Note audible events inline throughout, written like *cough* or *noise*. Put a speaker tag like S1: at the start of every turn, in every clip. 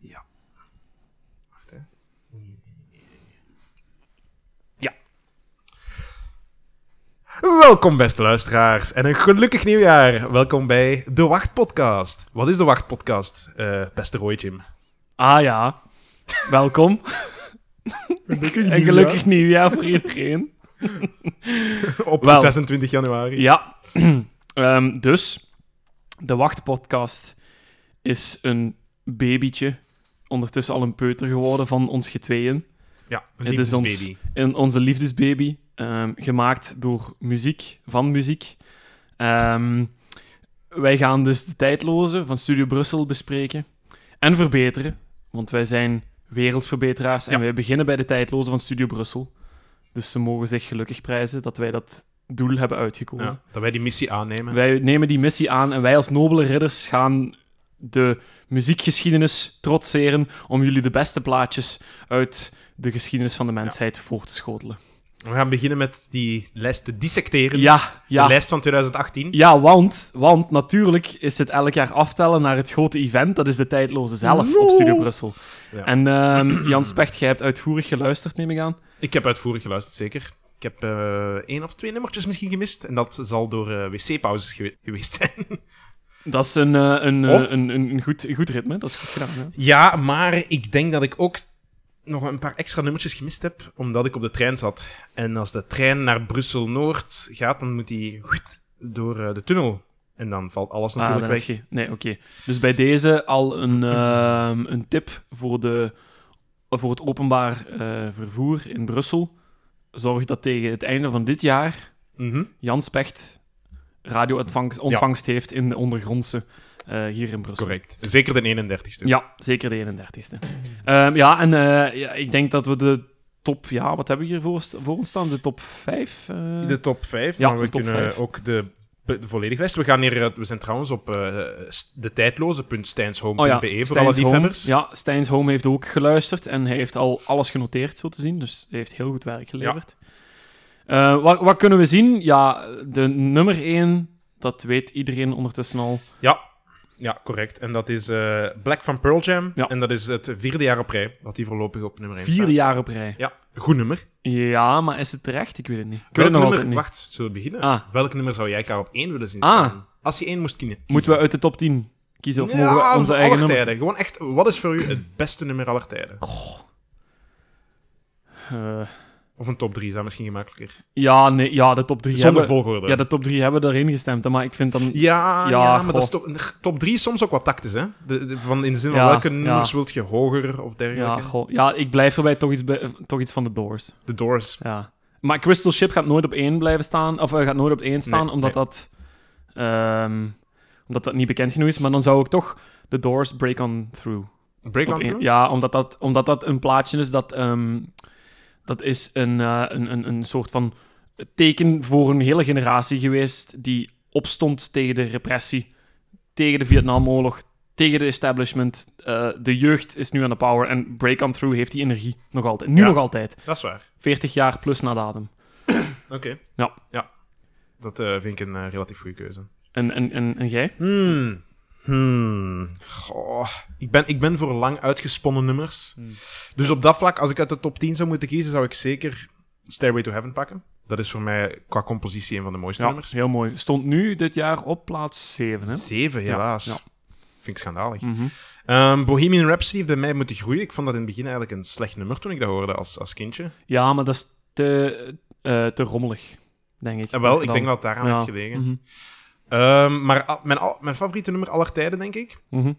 S1: Ja.
S2: Wacht, hè. Welkom beste luisteraars en een gelukkig nieuwjaar. Welkom bij De Wacht Podcast. Wat is De Wacht Podcast, eh, beste Roy Jim? *laughs*
S1: Ah ja. Welkom.
S2: Gelukkig
S1: en gelukkig nieuwjaar voor iedereen.
S2: Op
S1: Wel.
S2: 26 januari.
S1: Ja. *clears throat* Ehm, dus, de Wachtpodcast is een babytje. Ondertussen al een peuter geworden van ons getweeën.
S2: Ja, een
S1: Het is ons,
S2: liefdesbaby.
S1: in onze liefdesbaby, ehm, gemaakt door muziek, van muziek. Ehm, wij gaan dus de tijdloze van Studio Brussel bespreken en verbeteren, want wij zijn wereldverbeteraars en
S2: Ja.
S1: wij beginnen bij de tijdloze van Studio Brussel. Dus ze mogen zich gelukkig prijzen dat wij dat doel hebben uitgekozen.
S2: Ja, dat wij die missie aannemen.
S1: Wij nemen die missie aan en wij als nobele ridders gaan de muziekgeschiedenis trotseren om jullie de beste plaatjes uit de geschiedenis van de mensheid voor te schotelen.
S2: We gaan beginnen met die lijst te dissecteren.
S1: Ja,
S2: De
S1: ja.
S2: lijst van 2018.
S1: Ja, want, want natuurlijk is het elk jaar aftellen naar het grote event. Dat is de tijdloze zelf op Studio Brussel.
S2: Ja.
S1: En ehm, Jan Specht, jij hebt uitvoerig geluisterd, neem ik aan.
S2: Ik heb uitvoerig geluisterd, zeker. Ik heb eh, één of twee nummertjes misschien gemist. En dat zal door eh, wc-pauzes gewe- geweest zijn.
S1: Dat is een, eh, een, eh,
S2: Of?
S1: een, een, een goed, een goed ritme, dat is goed gedaan. Hè?
S2: Ja, maar ik denk dat ik ook nog een paar extra nummertjes gemist heb, omdat ik op de trein zat. En als de trein naar Brussel-Noord gaat, dan moet die goed door eh, de tunnel. En dan valt alles
S1: Ah,
S2: natuurlijk
S1: dan
S2: weg.
S1: heb je- Nee, oké. Dus bij deze al
S2: *clears throat*
S1: een, ehm, een tip voor, de, voor het openbaar eh, vervoer in Brussel. Zorg dat tegen het einde van dit jaar
S2: Mhm.
S1: Jan Specht radio-ontvangst ontvangst heeft in de ondergrondse eh, hier in Brussel.
S2: Correct. Zeker de 31ste.
S1: Ja, zeker de 31ste. Ehm, ja, en eh, ja, ik denk dat we de top... Ja, wat hebben we hier voor, ons- voor ons staan? De top eh, 5?
S2: De top 5,
S1: Ja,
S2: maar we
S1: de top
S2: kunnen
S1: vijf.
S2: ook de, de volledige lijst. We, gaan hier, eh, we zijn trouwens op eh de tijdloze.stijnshome.be voor alle
S1: Stijn's Home.
S2: liefhebbers.
S1: Oh Ja, Stijn's Home heeft ook geluisterd en hij heeft al alles genoteerd, zo te zien. Dus hij heeft heel goed werk geleverd. Eh, wat, wat kunnen we zien? Ja, de nummer 1, dat weet iedereen ondertussen al.
S2: Ja, ja correct. En dat is eh, Black van Pearl Jam.
S1: Ja.
S2: En dat is het vierde jaar op rij dat die voorlopig op nummer 1 staat.
S1: Vierde jaar op rij.
S2: Ja, goed nummer.
S1: Ja, maar is het terecht? Ik weet het niet. Ik weet
S2: Welk
S1: het nog altijd
S2: nummer...
S1: niet.
S2: Wacht, zullen we beginnen?
S1: Ah.
S2: Welk nummer zou jij graag op één willen zien
S1: Ah.
S2: staan? Als je één moest kiezen.
S1: Moeten we uit de top 10 kiezen of
S2: Ja,
S1: mogen we onze
S2: aller
S1: eigen nummer...
S2: tijden. Gewoon echt, wat is voor u het beste nummer aller tijden?
S1: Eh,
S2: Of een top 3, is dat misschien gemakkelijker.
S1: ja, nee, ja, de top 3
S2: Zonder
S1: hebben...
S2: volgorde.
S1: Ja, de top 3 hebben we erin gestemd, hè, maar ik vind dan...
S2: Ja,
S1: Ja,
S2: ja,
S1: goh.
S2: maar dat is top, top 3 is soms ook wat tactisch, hè? De, de- van, in de zin van
S1: Ja,
S2: welke
S1: ja.
S2: nummers wilt je hoger of dergelijke?
S1: Ja, goh. ja, ik blijf erbij toch iets, bij- toch iets van de Doors.
S2: De Doors.
S1: Ja. Maar Crystal Ship gaat nooit op één blijven staan. Of eh, gaat nooit op één staan,
S2: Nee,
S1: omdat,
S2: nee.
S1: Dat, ehm, omdat dat niet bekend genoeg is. Maar dan zou ik toch The Doors Break On Through.
S2: Break
S1: op
S2: on
S1: één-
S2: Through?
S1: Ja, omdat dat, omdat dat een plaatje is dat... ehm, dat is een, eh, een, een, een soort van teken voor een hele generatie geweest die opstond tegen de repressie, tegen de Vietnamoorlog, tegen de establishment. Eh, de jeugd is nu aan de power en Break On Through heeft die energie nog altijd. Nu
S2: Ja.
S1: nog altijd.
S2: Dat is waar.
S1: 40 jaar plus na datum.
S2: Oké.
S1: Ja.
S2: ja. Dat eh, vind ik een eh, relatief goede keuze.
S1: En, en, en, en jij?
S2: Hmm. Hmm. Goh. Ik, ben, ik ben voor lang uitgesponnen nummers.
S1: Hmm.
S2: Dus op dat vlak, als ik uit de top 10 zou moeten kiezen, zou ik zeker Stairway to Heaven pakken. Dat is voor mij qua compositie een van de mooiste
S1: Ja,
S2: nummers.
S1: heel mooi. Stond nu dit jaar op plaats 7, hè?
S2: Zeven, helaas.
S1: ja.
S2: Vind ik schandalig.
S1: Mhm.
S2: Ehm, Bohemian Rhapsody heeft bij mij moeten groeien. Ik vond dat in het begin eigenlijk een slecht nummer toen ik dat hoorde als, als kindje.
S1: Ja, maar dat is te, eh, te rommelig, denk ik.
S2: En wel,
S1: Dan-
S2: ik denk dat het daaraan
S1: Ja.
S2: heeft gelegen.
S1: Mhm.
S2: Ehm, maar a- mijn, al- mijn favoriete nummer aller tijden, denk ik,
S1: Mhm.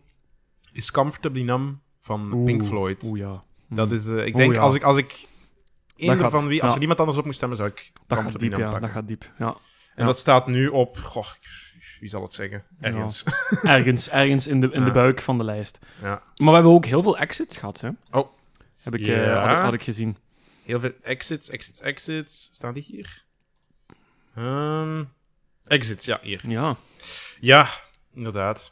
S2: is Comfortably Numb van
S1: Oeh,
S2: Pink Floyd.
S1: Oeh, ja.
S2: Dat is, eh, ik
S1: Hmm. Oeh,
S2: denk,
S1: ja.
S2: als ik, als ik
S1: Dat
S2: eender
S1: gaat-
S2: van wie, als
S1: ja.
S2: er niemand anders op moest stemmen, zou ik
S1: Dat gaat
S2: Comfortably
S1: diep,
S2: Numb
S1: ja. Dat
S2: pakken.
S1: gaat
S2: *laughs*
S1: diep, ja.
S2: En
S1: ja.
S2: dat staat nu op, goh, ik- wie zal het zeggen? Ergens. *laughs*
S1: Ergens, ergens in, de, in de
S2: Ja.
S1: buik van de lijst.
S2: Ja.
S1: Maar we hebben ook heel veel exits gehad, hè?
S2: Oh.
S1: Heb ik,
S2: Ja.
S1: eh, had, ik- had ik gezien.
S2: Heel veel exits, exits, exits. Staan die hier? Ehm, exits, ja, hier.
S1: Ja.
S2: Ja, inderdaad.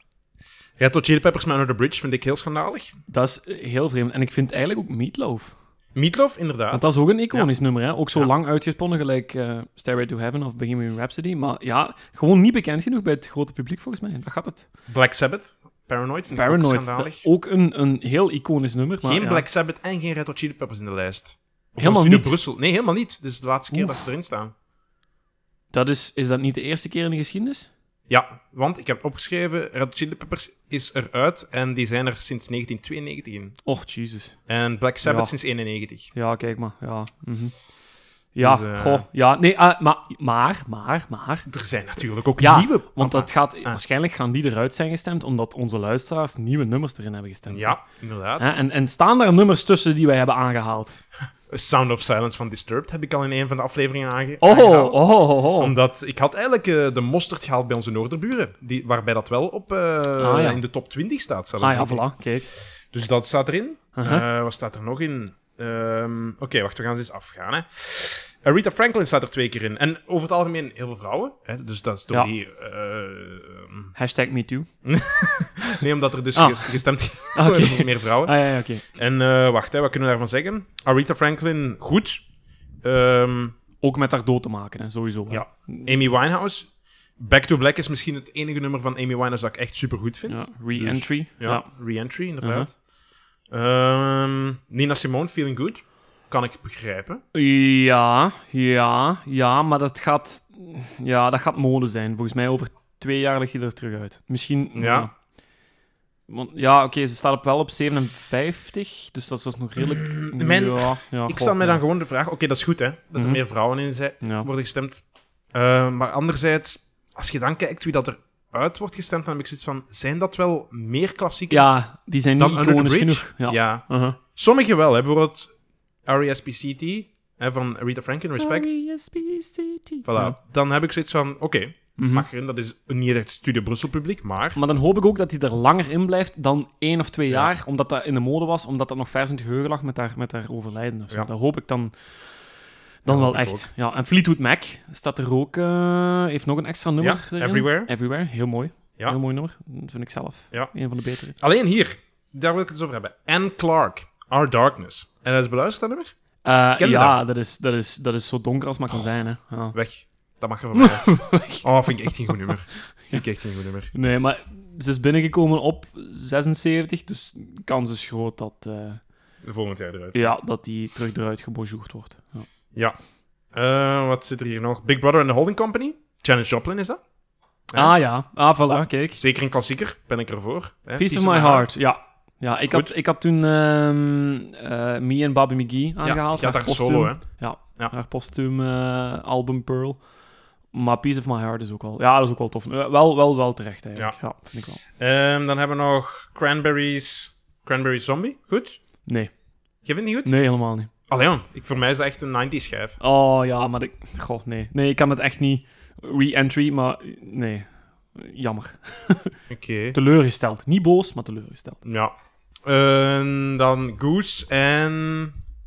S2: Red Hot Chili Peppers met Under the Bridge vind ik heel schandalig.
S1: Dat is eh, heel vreemd. En ik vind eigenlijk ook Meatloaf.
S2: Meatloaf, inderdaad.
S1: Want dat is ook een iconisch nummer, hè? Ook zo lang uitgesponnen, gelijk eh, Stairway to Heaven of Bohemian Rhapsody. Maar ja, gewoon niet bekend genoeg bij het grote publiek, volgens mij. Dat gaat het.
S2: Black Sabbath Paranoid vind ik ook
S1: Paranoid.
S2: schandalig.
S1: dat- Ook een, een heel iconisch nummer. Maar
S2: geen
S1: ja.
S2: Black Sabbath en geen Red Hot Chili Peppers in de lijst. Of
S1: Helemaal
S2: Studio
S1: niet.
S2: Brussel. Nee, helemaal niet. Dit is de laatste keer
S1: Oeh.
S2: dat ze erin staan.
S1: Dat is, is dat niet de eerste keer in de geschiedenis?
S2: Ja, want ik heb opgeschreven, Red Hot Chili Peppers is eruit en die zijn er sinds 1992 in.
S1: Och, Jesus.
S2: En Black Sabbath
S1: Ja.
S2: sinds 91.
S1: Ja, kijk maar. Ja, mhm. ja
S2: Dus, eh,
S1: goh. Ja, nee, ah, maar, maar, maar, maar.
S2: Er zijn natuurlijk ook
S1: Ja,
S2: nieuwe. Ah.
S1: want dat gaat, waarschijnlijk gaan die eruit zijn gestemd, omdat onze luisteraars nieuwe nummers erin hebben gestemd.
S2: Ja, inderdaad.
S1: Hè, en, en staan daar nummers tussen die wij hebben aangehaald?
S2: A Sound of Silence van Disturbed heb ik al in een van de afleveringen aange
S1: Oh,
S2: aangehaald.
S1: oh, oh, oh, oh.
S2: Omdat ik had eigenlijk eh, de mosterd gehaald bij onze Noorderburen. Die, waarbij dat wel op, eh,
S1: Ah, ja.
S2: in de top 20 staat. zelfs.
S1: Ah ja, voilà, kijk.
S2: Dus dat staat erin.
S1: Aha.
S2: Eh, wat staat er nog in? Ehm, Oké, wacht, we gaan ze eens afgaan. Hè. Rita Franklin staat er twee keer in. En over het algemeen heel veel vrouwen. Hè, dus dat is door
S1: Ja.
S2: die... eh,
S1: Hashtag MeToo.
S2: nee, omdat er dus
S1: Ah.
S2: ges- gestemd *laughs*
S1: Ah, oké.
S2: wordt op meer vrouwen.
S1: Ah ja, ja, oké.
S2: En eh, wacht, hè, wat kunnen we daarvan zeggen? Aretha Franklin, goed. Ehm,
S1: Ook met haar dood te maken, hè, sowieso. hè.
S2: Ja. Amy Winehouse. Back to Black is misschien het enige nummer van Amy Winehouse dat ik echt super goed vind.
S1: Ja,
S2: Ja, dus,
S1: Re-entry.
S2: ja,
S1: ja.
S2: Re-entry, inderdaad. Ehm, Nina Simone, Feeling Good. Kan ik begrijpen.
S1: Ja, ja, ja, maar dat gaat, ja, dat gaat mode zijn. Volgens mij over twee jaar ligt hij er terug uit. Misschien.
S2: Ja.
S1: Want, ja, oké, ze staat op wel op 57, dus dat is dus nog redelijk.
S2: mijn-
S1: ja, ja,
S2: Mm, ik
S1: goh,
S2: stel mij
S1: ja.
S2: dan gewoon de vraag: oké, dat is goed hè, dat er
S1: Mhm.
S2: meer vrouwen in zijn,
S1: Ja.
S2: worden gestemd. Eh, maar anderzijds, als je dan kijkt wie dat er uit wordt gestemd, dan heb ik zoiets van: zijn dat wel meer klassiekers
S1: Ja, die zijn
S2: dan
S1: niet
S2: Under the
S1: iconisch
S2: Bridge?
S1: genoeg. Ja.
S2: ja.
S1: Uh-huh.
S2: Sommige wel, hè. bijvoorbeeld E R.E.S.P.C.T. hè, van Rita Franklin, Respect.
S1: R.E.S.P.C.T..
S2: Voilà.
S1: Ja.
S2: Dan heb ik zoiets van, oké,
S1: Mhm.
S2: mag erin. Dat is niet echt Studio Brussel publiek, maar...
S1: Maar dan hoop ik ook dat hij er langer in blijft dan één of twee jaar, omdat dat in de mode was, omdat dat nog vers in het geheugen lag met haar, met haar overlijden. Of zo.
S2: Ja.
S1: Dat hoop ik dan, dan
S2: Dat
S1: wel
S2: hoop ik
S1: echt. Ja, en Fleetwood Mac staat er ook, eh, heeft nog een extra nummer.
S2: Ja,
S1: erin.
S2: Everywhere.
S1: Everywhere, heel mooi.
S2: Ja.
S1: Heel mooi nummer, Dat vind ik zelf.
S2: Ja.
S1: Een van de betere.
S2: Alleen hier, daar wil ik het eens over hebben. Anne Clark, Our Darkness. En dat is beluisterd, dat nummer?
S1: Eh,
S2: Ken je
S1: ja, dat is, dat, is, dat is zo donker als maar kan zijn. Hè. Ja.
S2: Weg. Dat mag er van mij
S1: *laughs*
S2: uit. Oh, vind ik echt geen goed nummer. Vind ik echt geen goed nummer.
S1: Nee, maar ze is binnengekomen op 76, dus de kans is groot dat, eh,
S2: De volgende jaar eruit.
S1: ja, dat die terug eruit gebonjourd wordt. Ja.
S2: Ja. Eh, wat zit er hier nog? Big Brother and the Holding Company. Janis Joplin is dat. Ja.
S1: Ah ja, ah voilà, kijk.
S2: Zeker een klassieker, ben ik ervoor. hè.
S1: Piece of My Heart, ja. Ja, ik
S2: Goed.
S1: had, ik had toen ehm, eh, Me en Bobby McGee aangehaald.
S2: Ja, je had
S1: haar
S2: daar
S1: postuum,
S2: solo, hè.
S1: Ja,
S2: Ja.
S1: haar postuum eh, album Pearl. Maar Piece of My Heart is ook wel... Ja, dat is ook wel tof. Eh, wel, wel, wel terecht, eigenlijk. Ja. vind ik wel.
S2: Ehm, dan hebben we nog Cranberries. Cranberry Zombie. Goed?
S1: Nee,
S2: Je vindt die goed?
S1: nee, helemaal niet.
S2: Allee, man. ik, voor mij is dat echt een 90s schijf.
S1: Oh ja, maar... Ik, goh, nee. Nee, ik kan het echt niet. Re-entry, maar... Nee. Jammer.
S2: Oké.
S1: Teleurgesteld. Niet boos, maar teleurgesteld.
S2: Ja. En dan Goose en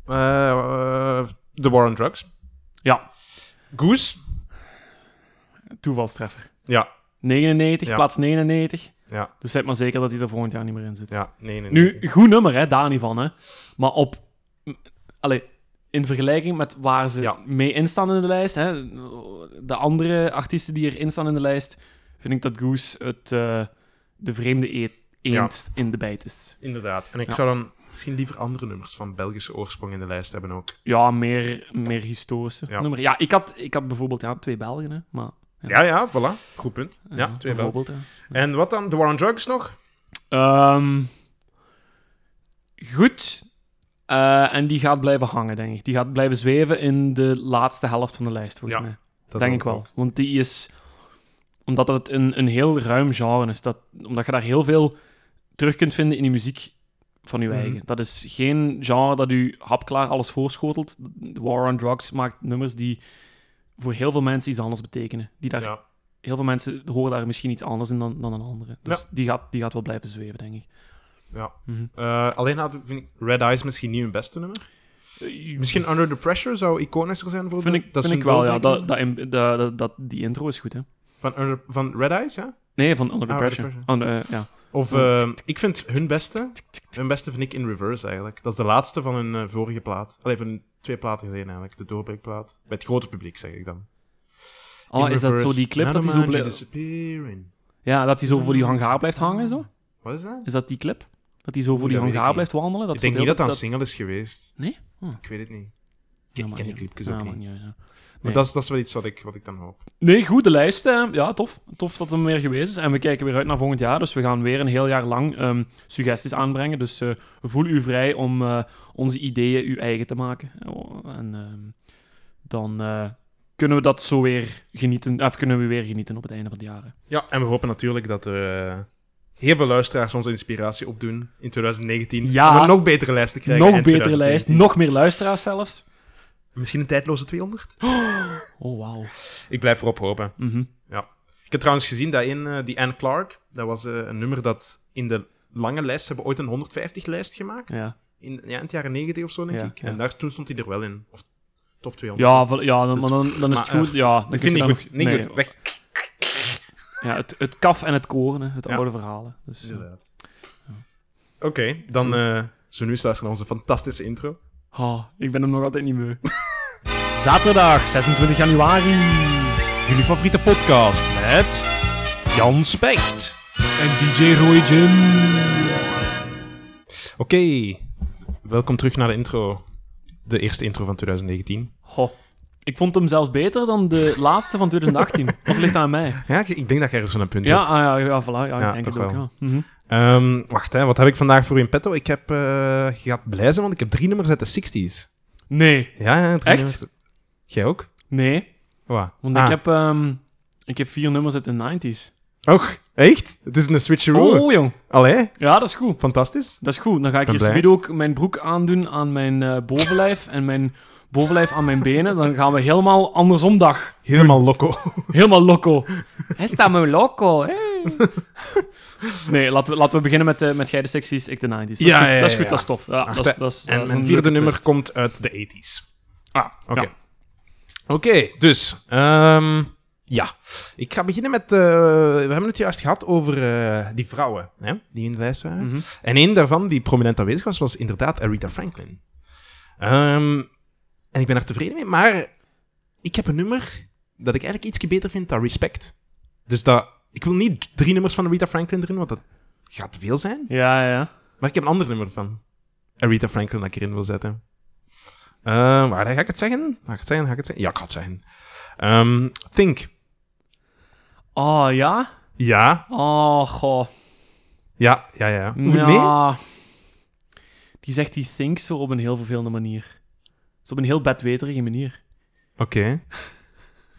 S2: eh, eh, The War on Drugs.
S1: Ja,
S2: Goose?
S1: toevalstreffer.
S2: Ja.
S1: 99,
S2: Ja.
S1: plaats 99.
S2: Ja.
S1: Dus zeg maar zeker dat hij er volgend jaar niet meer in zit.
S2: Ja, nee, nee. nee.
S1: Nu, goed nummer, hè, daar niet van. Hè. Maar op... m- Allee, in vergelijking met waar ze
S2: Ja.
S1: mee instaan in de lijst, hè, de andere artiesten die erin staan in de lijst, vind ik dat Goose het, eh, de vreemde eet, eend in de bijt is.
S2: Inderdaad. En ik
S1: Ja.
S2: zou dan misschien liever andere nummers van Belgische oorsprong in de lijst hebben ook.
S1: Ja, meer, meer historische
S2: Ja.
S1: nummer. Ja, ik had, ik had bijvoorbeeld ja, twee Belgen, hè, maar...
S2: Ja,
S1: Ja.
S2: ja, voilà. Goed punt. Ja,
S1: ja,
S2: twee wel.
S1: bijvoorbeeld, hè.
S2: En wat dan? The War on Drugs nog?
S1: Ehm, goed. Eh, en die gaat blijven hangen, denk ik. Die gaat blijven zweven in de laatste helft van de lijst, volgens
S2: Ja,
S1: mij.
S2: Dat
S1: denk
S2: ook
S1: ik wel.
S2: ook.
S1: Want die is... Omdat het een, een heel ruim genre is. Dat, omdat je daar heel veel terug kunt vinden in die muziek van je
S2: Mhm.
S1: eigen. Dat is geen genre dat u hapklaar alles voorschotelt. The War on Drugs maakt nummers die voor heel veel mensen iets anders betekenen. Die daar,
S2: Ja.
S1: Heel veel mensen horen daar misschien iets anders in dan, dan een andere. Dus die, gaat, die gaat wel blijven zweven, denk ik.
S2: ja.
S1: Mhm.
S2: Eh, alleen had, vind ik Red Eyes misschien niet hun beste nummer.
S1: Eh,
S2: Misschien Under the Pressure zou iconischer zijn voor
S1: Vind
S2: de-
S1: ik, vind
S2: is
S1: ik
S2: een
S1: wel, ja.
S2: doorbraak.
S1: Dat, dat, in- dat, dat- dat- die intro is goed, hè.
S2: Van, Under- van Red Eyes, ja?
S1: Nee, van Under the
S2: Ah, Under the
S1: Pressure. Under- eh, ja.
S2: Of
S1: Ja.
S2: ehm, ik vind hun beste, hun beste vind ik in reverse eigenlijk. Dat is de laatste van hun eh, vorige plaat. Alleen van hun twee platen geleden eigenlijk, de doorbreekplaat. Bij het grote publiek zeg ik dan.
S1: Oh,
S2: In
S1: is dat
S2: reverse.
S1: zo die clip dat hij zo,
S2: Another man
S1: blijft-
S2: disappearing. Mm.
S1: ja, dat die zo voor die hangaar blijft hangen? Zo?
S2: Wat is dat?
S1: Is dat die clip? Dat hij zo voor die
S2: dat weet ik
S1: hangaar
S2: niet.
S1: blijft wandelen? Dat
S2: ik
S1: soort
S2: denk niet dat
S1: heel-
S2: dat een single is geweest.
S1: Nee? Oh.
S2: Ik weet het niet. Ik, ik
S1: Ja,
S2: ken
S1: maakt
S2: die
S1: niet uit.
S2: clipjes
S1: Ja,
S2: ook niet.
S1: maakt niet uit, ja.
S2: Maar dat is, dat is wel iets wat ik, wat ik dan hoop.
S1: Nee, goed, de lijst. eh, ja, tof. Tof dat hem weer geweest is. En we kijken weer uit naar volgend jaar. Dus we gaan weer een heel jaar lang ehm, suggesties aanbrengen. Dus eh, voel u vrij om eh, onze ideeën uw eigen te maken. En ehm, dan eh, kunnen we dat zo weer genieten. Of kunnen we weer genieten op het einde van het jaar. hè.
S2: Ja, en we hopen natuurlijk dat er eh, heel veel luisteraars onze inspiratie opdoen in 2019.
S1: Ja.
S2: Om een nog betere lijst te krijgen.
S1: Nog
S2: en
S1: betere
S2: 2019.
S1: lijst, nog meer luisteraars zelfs.
S2: Misschien een tijdloze 200?
S1: Oh, wauw.
S2: Ik blijf erop hopen.
S1: Mhm.
S2: Ik heb trouwens gezien dat in eh, die Anne Clark, dat was eh, een nummer dat in de lange lijst, ze hebben ooit een 150-lijst gemaakt.
S1: Ja,
S2: In, ja, in het jaren 90 of zo, denk
S1: Ja,
S2: ik.
S1: ja.
S2: En daar, toen stond hij er wel in. Of top 200.
S1: ja, wel- ja dan,
S2: Dus-
S1: dan, dan is het
S2: maar,
S1: goed. Ja, dan
S2: ik
S1: kun
S2: vind
S1: je
S2: niet
S1: dan
S2: goed.
S1: nog-
S2: Niet
S1: nee,
S2: goed. Weg.
S1: Ja, het, het kaf en het koren, hè, het
S2: Ja.
S1: oude verhalen. Dus, eh,
S2: Inderdaad. Oké, dan eh zo nu eens luisteren naar onze fantastische intro.
S1: Ah, ik ben hem nog altijd niet beu. Zaterdag 26 januari.
S3: Jullie favoriete podcast met Jan Specht.
S1: En DJ Roy Jim.
S2: Oké, welkom terug naar de intro. De eerste intro van 2019.
S1: Goh. Ik vond hem zelfs beter dan de laatste van *laughs* 2018. of ligt dat aan mij?
S2: Ja, ik- ik denk dat jij ergens zo'n punt
S1: Ja,
S2: hebt.
S1: ah, ja, ja, voilà, ja,
S2: Ja,
S1: ik denk
S2: toch
S1: het ook.
S2: wel.
S1: Ja. Mhm.
S2: Ehm, wacht, hè, wat heb ik vandaag voor u in petto? Ik heb, eh, je gaat blij zijn, want ik heb drie nummers uit de 60s.
S1: Nee,
S2: Ja, ja drie
S1: Echt?
S2: nummers. Jij ook?
S1: nee.
S2: Wat?
S1: Want
S2: Ah.
S1: ik, heb, ehm, ik heb vier nummers uit de 90s.
S2: Och, echt? Het is een switcheroo.
S1: Oh, jong.
S2: Allee,
S1: Ja, dat is goed.
S2: fantastisch.
S1: Dat is goed. Dan ga ik
S2: Ben
S1: hier
S2: blij.
S1: subido ook mijn broek aandoen aan mijn eh, bovenlijf en mijn bovenlijf aan mijn benen. Dan gaan we helemaal andersom dag.
S2: Helemaal loco.
S1: Helemaal loco. Hij staat me loco, hè? *laughs* Nee, laten we, laten we beginnen met, eh, met jij de 60s, ik de 90s. Dat is
S2: Ja,
S1: goed,
S2: ja,
S1: dat is
S2: ja,
S1: goed,
S2: ja.
S1: dat is tof. Ja,
S2: Wacht,
S1: dat is,
S2: hè.
S1: dat is, dat
S2: En
S1: is
S2: mijn
S1: een
S2: vierde
S1: leuke
S2: nummer
S1: twist.
S2: komt uit de 80s.
S1: Ah,
S2: Oké.
S1: ja.
S2: Oké, dus. ehm, ja. Ik ga beginnen met. eh, we hebben het juist gehad over eh, die vrouwen hè, die in de lijst waren.
S1: Mhm.
S2: En een daarvan die prominent aanwezig was, was inderdaad Aretha Franklin. Ehm, en ik ben daar tevreden mee, maar ik heb een nummer dat ik eigenlijk ietsje beter vind dan Respect. Dus dat, ik wil niet drie nummers van Aretha Franklin erin, want dat gaat te veel zijn.
S1: Ja, ja, ja.
S2: Maar ik heb een ander nummer van Aretha Franklin dat ik erin wil zetten. Eh, waar ga ik het zeggen? Ga ik het zeggen? Ga ik het zeggen? Ja, ik ga het zeggen. Ehm, Think.
S1: Oh, ja?
S2: Ja,
S1: Oh, goh.
S2: ja, ja, ja. Oeh, Nee?
S1: Ja. Die zegt die things zo op een heel vervelende manier. Dus op een heel bedweterige manier. *laughs*
S2: Oké. *laughs*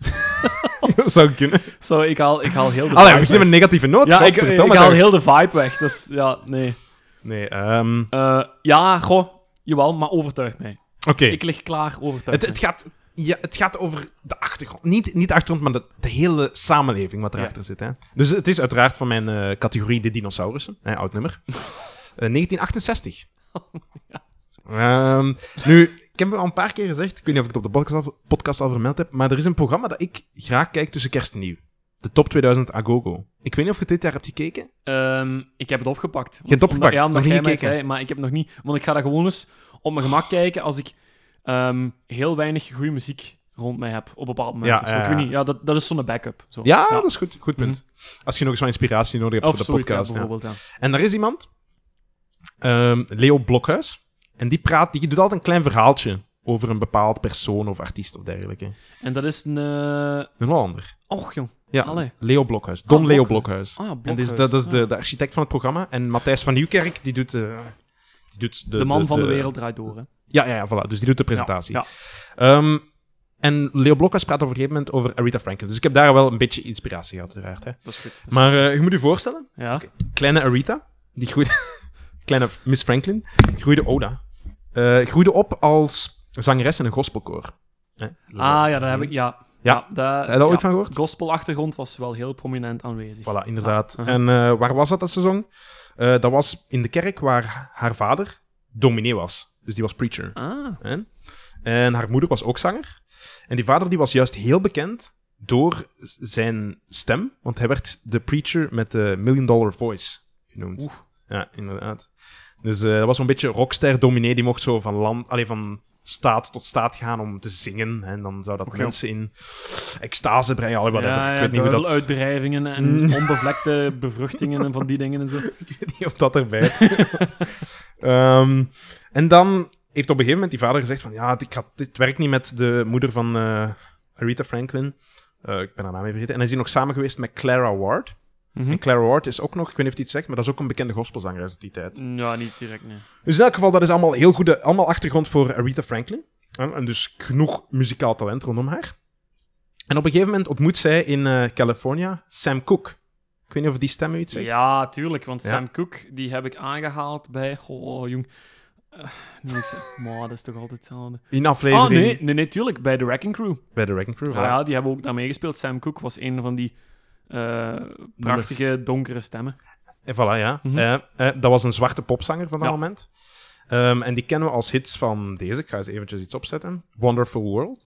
S2: Dat zou kunnen.
S1: Zo, ik haal, ik haal heel de
S2: Allee, we beginnen
S1: vibe
S2: met een
S1: *laughs* weg.
S2: negatieve noot.
S1: Ja, ik, ik
S2: Godverdomme,
S1: haal
S2: daar-
S1: heel de vibe weg. Dat is, ja, nee.
S2: Nee, ehm,
S1: Eh, ja, goh. Jawel, maar overtuigt mij.
S2: oké.
S1: Ik lig klaar, overtuigd.
S2: Het, het, gaat, ja, het gaat over de achtergrond. Niet, niet de achtergrond, maar de, de hele samenleving wat erachter zit. Hè? Dus het is uiteraard van mijn eh, categorie de dinosaurussen. Hè, oud
S1: *laughs*
S2: nummer. Eh, 1968. Ehm, nu, ik heb het al een paar keer gezegd. Ik weet niet of ik het op de podcast al, podcast al vermeld heb. Maar er is een programma dat ik graag kijk tussen kerst en nieuw. De top 2000 Agogo. Ik weet niet of je dit jaar hebt gekeken.
S1: Ehm, ik heb het opgepakt. Want-
S2: hebt het opgepakt,
S1: Omdat, ja,
S2: nog
S1: omdat
S2: niet
S1: jij mij het
S2: gekeken.
S1: zei, maar ik heb nog niet... Want ik ga dat gewoon eens op mijn gemak kijken als ik ehm, heel weinig goede muziek rond mij heb op een bepaald moment.
S2: Ja,
S1: of zo.
S2: ja,
S1: ik weet
S2: ja.
S1: niet. Ja, dat, dat is zo'n backup. Zo.
S2: Ja, dat is goed. Goed punt. Als je nog eens wat inspiratie nodig hebt
S1: Mhm. Of
S2: voor de
S1: zoiets, ja,
S2: podcast. ja.
S1: bijvoorbeeld. Ja.
S2: En daar is iemand, ehm, Leo Blokhuis, en die praat, die doet altijd een klein verhaaltje over een bepaald persoon of artiest of dergelijke.
S1: En dat is een... eh,
S2: Een Hollander.
S1: Och, jong.
S2: Ja,
S1: Allee.
S2: Leo Blokhuis. Don
S1: Ah,
S2: Leo
S1: Blokhuis.
S2: Blokhuis.
S1: Ah,
S2: En dit is,
S1: Blokhuis.
S2: dat is
S1: Ah.
S2: de, de architect van het programma. En Matthijs van Nieuwkerk, die doet, eh, die doet de...
S1: De man van de wereld draait door, hè.
S2: Ja, ja, ja, voilà. Dus die doet de presentatie.
S1: Ja,
S2: Ehm, en Leo Blokhuis praat op een gegeven moment over Aretha Franklin. Dus ik heb daar wel een beetje inspiratie gehad, uiteraard. Hè.
S1: dat is goed.
S2: Maar eh, je moet je voorstellen,
S1: Ja.
S2: kleine Arita, die groeide, *laughs* kleine Miss Franklin, groeide Oda. Eh, groeide op als zangeres in een gospelkoor. Hè?
S1: Ah, ja, daar heb ik... Ja.
S2: Ja.
S1: daar,
S2: Heb je daar ooit van gehoord?
S1: Gospelachtergrond was wel heel prominent aanwezig.
S2: Voilà, inderdaad.
S1: Ah, aha.
S2: En eh, waar was dat dat ze zong? Eh, dat was in de kerk waar haar vader dominee was. Dus die was preacher.
S1: Ah,
S2: Hè? En haar moeder was ook zanger. En die vader die was juist heel bekend door zijn stem, want hij werd de preacher met de Million Dollar Voice genoemd. Ja, inderdaad. Dus eh, dat was zo'n beetje rockster dominee, die mocht zo van land, allee, van staat tot staat gaan om te zingen. En dan zou dat
S1: Oké.
S2: mensen in extase brengen. Allee, whatever.
S1: Ja,
S2: ik
S1: ja,
S2: weet niet hoe dat... Mm.
S1: duiveluitdrijvingen en
S2: *laughs*
S1: onbevlekte bevruchtingen en van die dingen en zo.
S2: niet op dat erbij. *laughs* Ehm, en dan heeft op een gegeven moment die vader gezegd van... Ja, ik ga, dit werkt niet met de moeder van eh Aretha Franklin. Eh, ik ben haar naam even vergeten. En hij is hier nog samen geweest met Clara Ward.
S1: Mhm.
S2: En Clara Ward is ook nog... Ik weet niet of die het zegt, maar dat is ook een bekende gospelzanger uit die tijd.
S1: Ja, niet direct, nee.
S2: Dus in elk geval, dat is allemaal heel goede... Allemaal achtergrond voor Aretha Franklin. Eh, en dus genoeg muzikaal talent rondom haar. En op een gegeven moment ontmoet zij in eh, California Sam Cooke. Ik weet niet of die stem u iets zegt.
S1: Ja, tuurlijk, want
S2: Ja.
S1: Sam Cooke, die heb ik aangehaald bij... Oh, jong. Eh,
S2: *laughs*
S1: nee, Sam- maar dat is toch altijd hetzelfde.
S2: In aflevering
S1: Oh, nee, Ah, nee, nee, tuurlijk, bij The Wrecking Crew.
S2: bij The Wrecking Crew.
S1: Ja, ja, die hebben ook daar meegespeeld. Sam Cooke was een van die eh, prachtige, donkere stemmen.
S2: En voilà, ja.
S1: Mhm.
S2: Eh, eh, dat was een zwarte popzanger van dat
S1: Ja.
S2: moment. Ehm, en die kennen we als hits van deze. Ik ga eens eventjes iets opzetten. Wonderful World.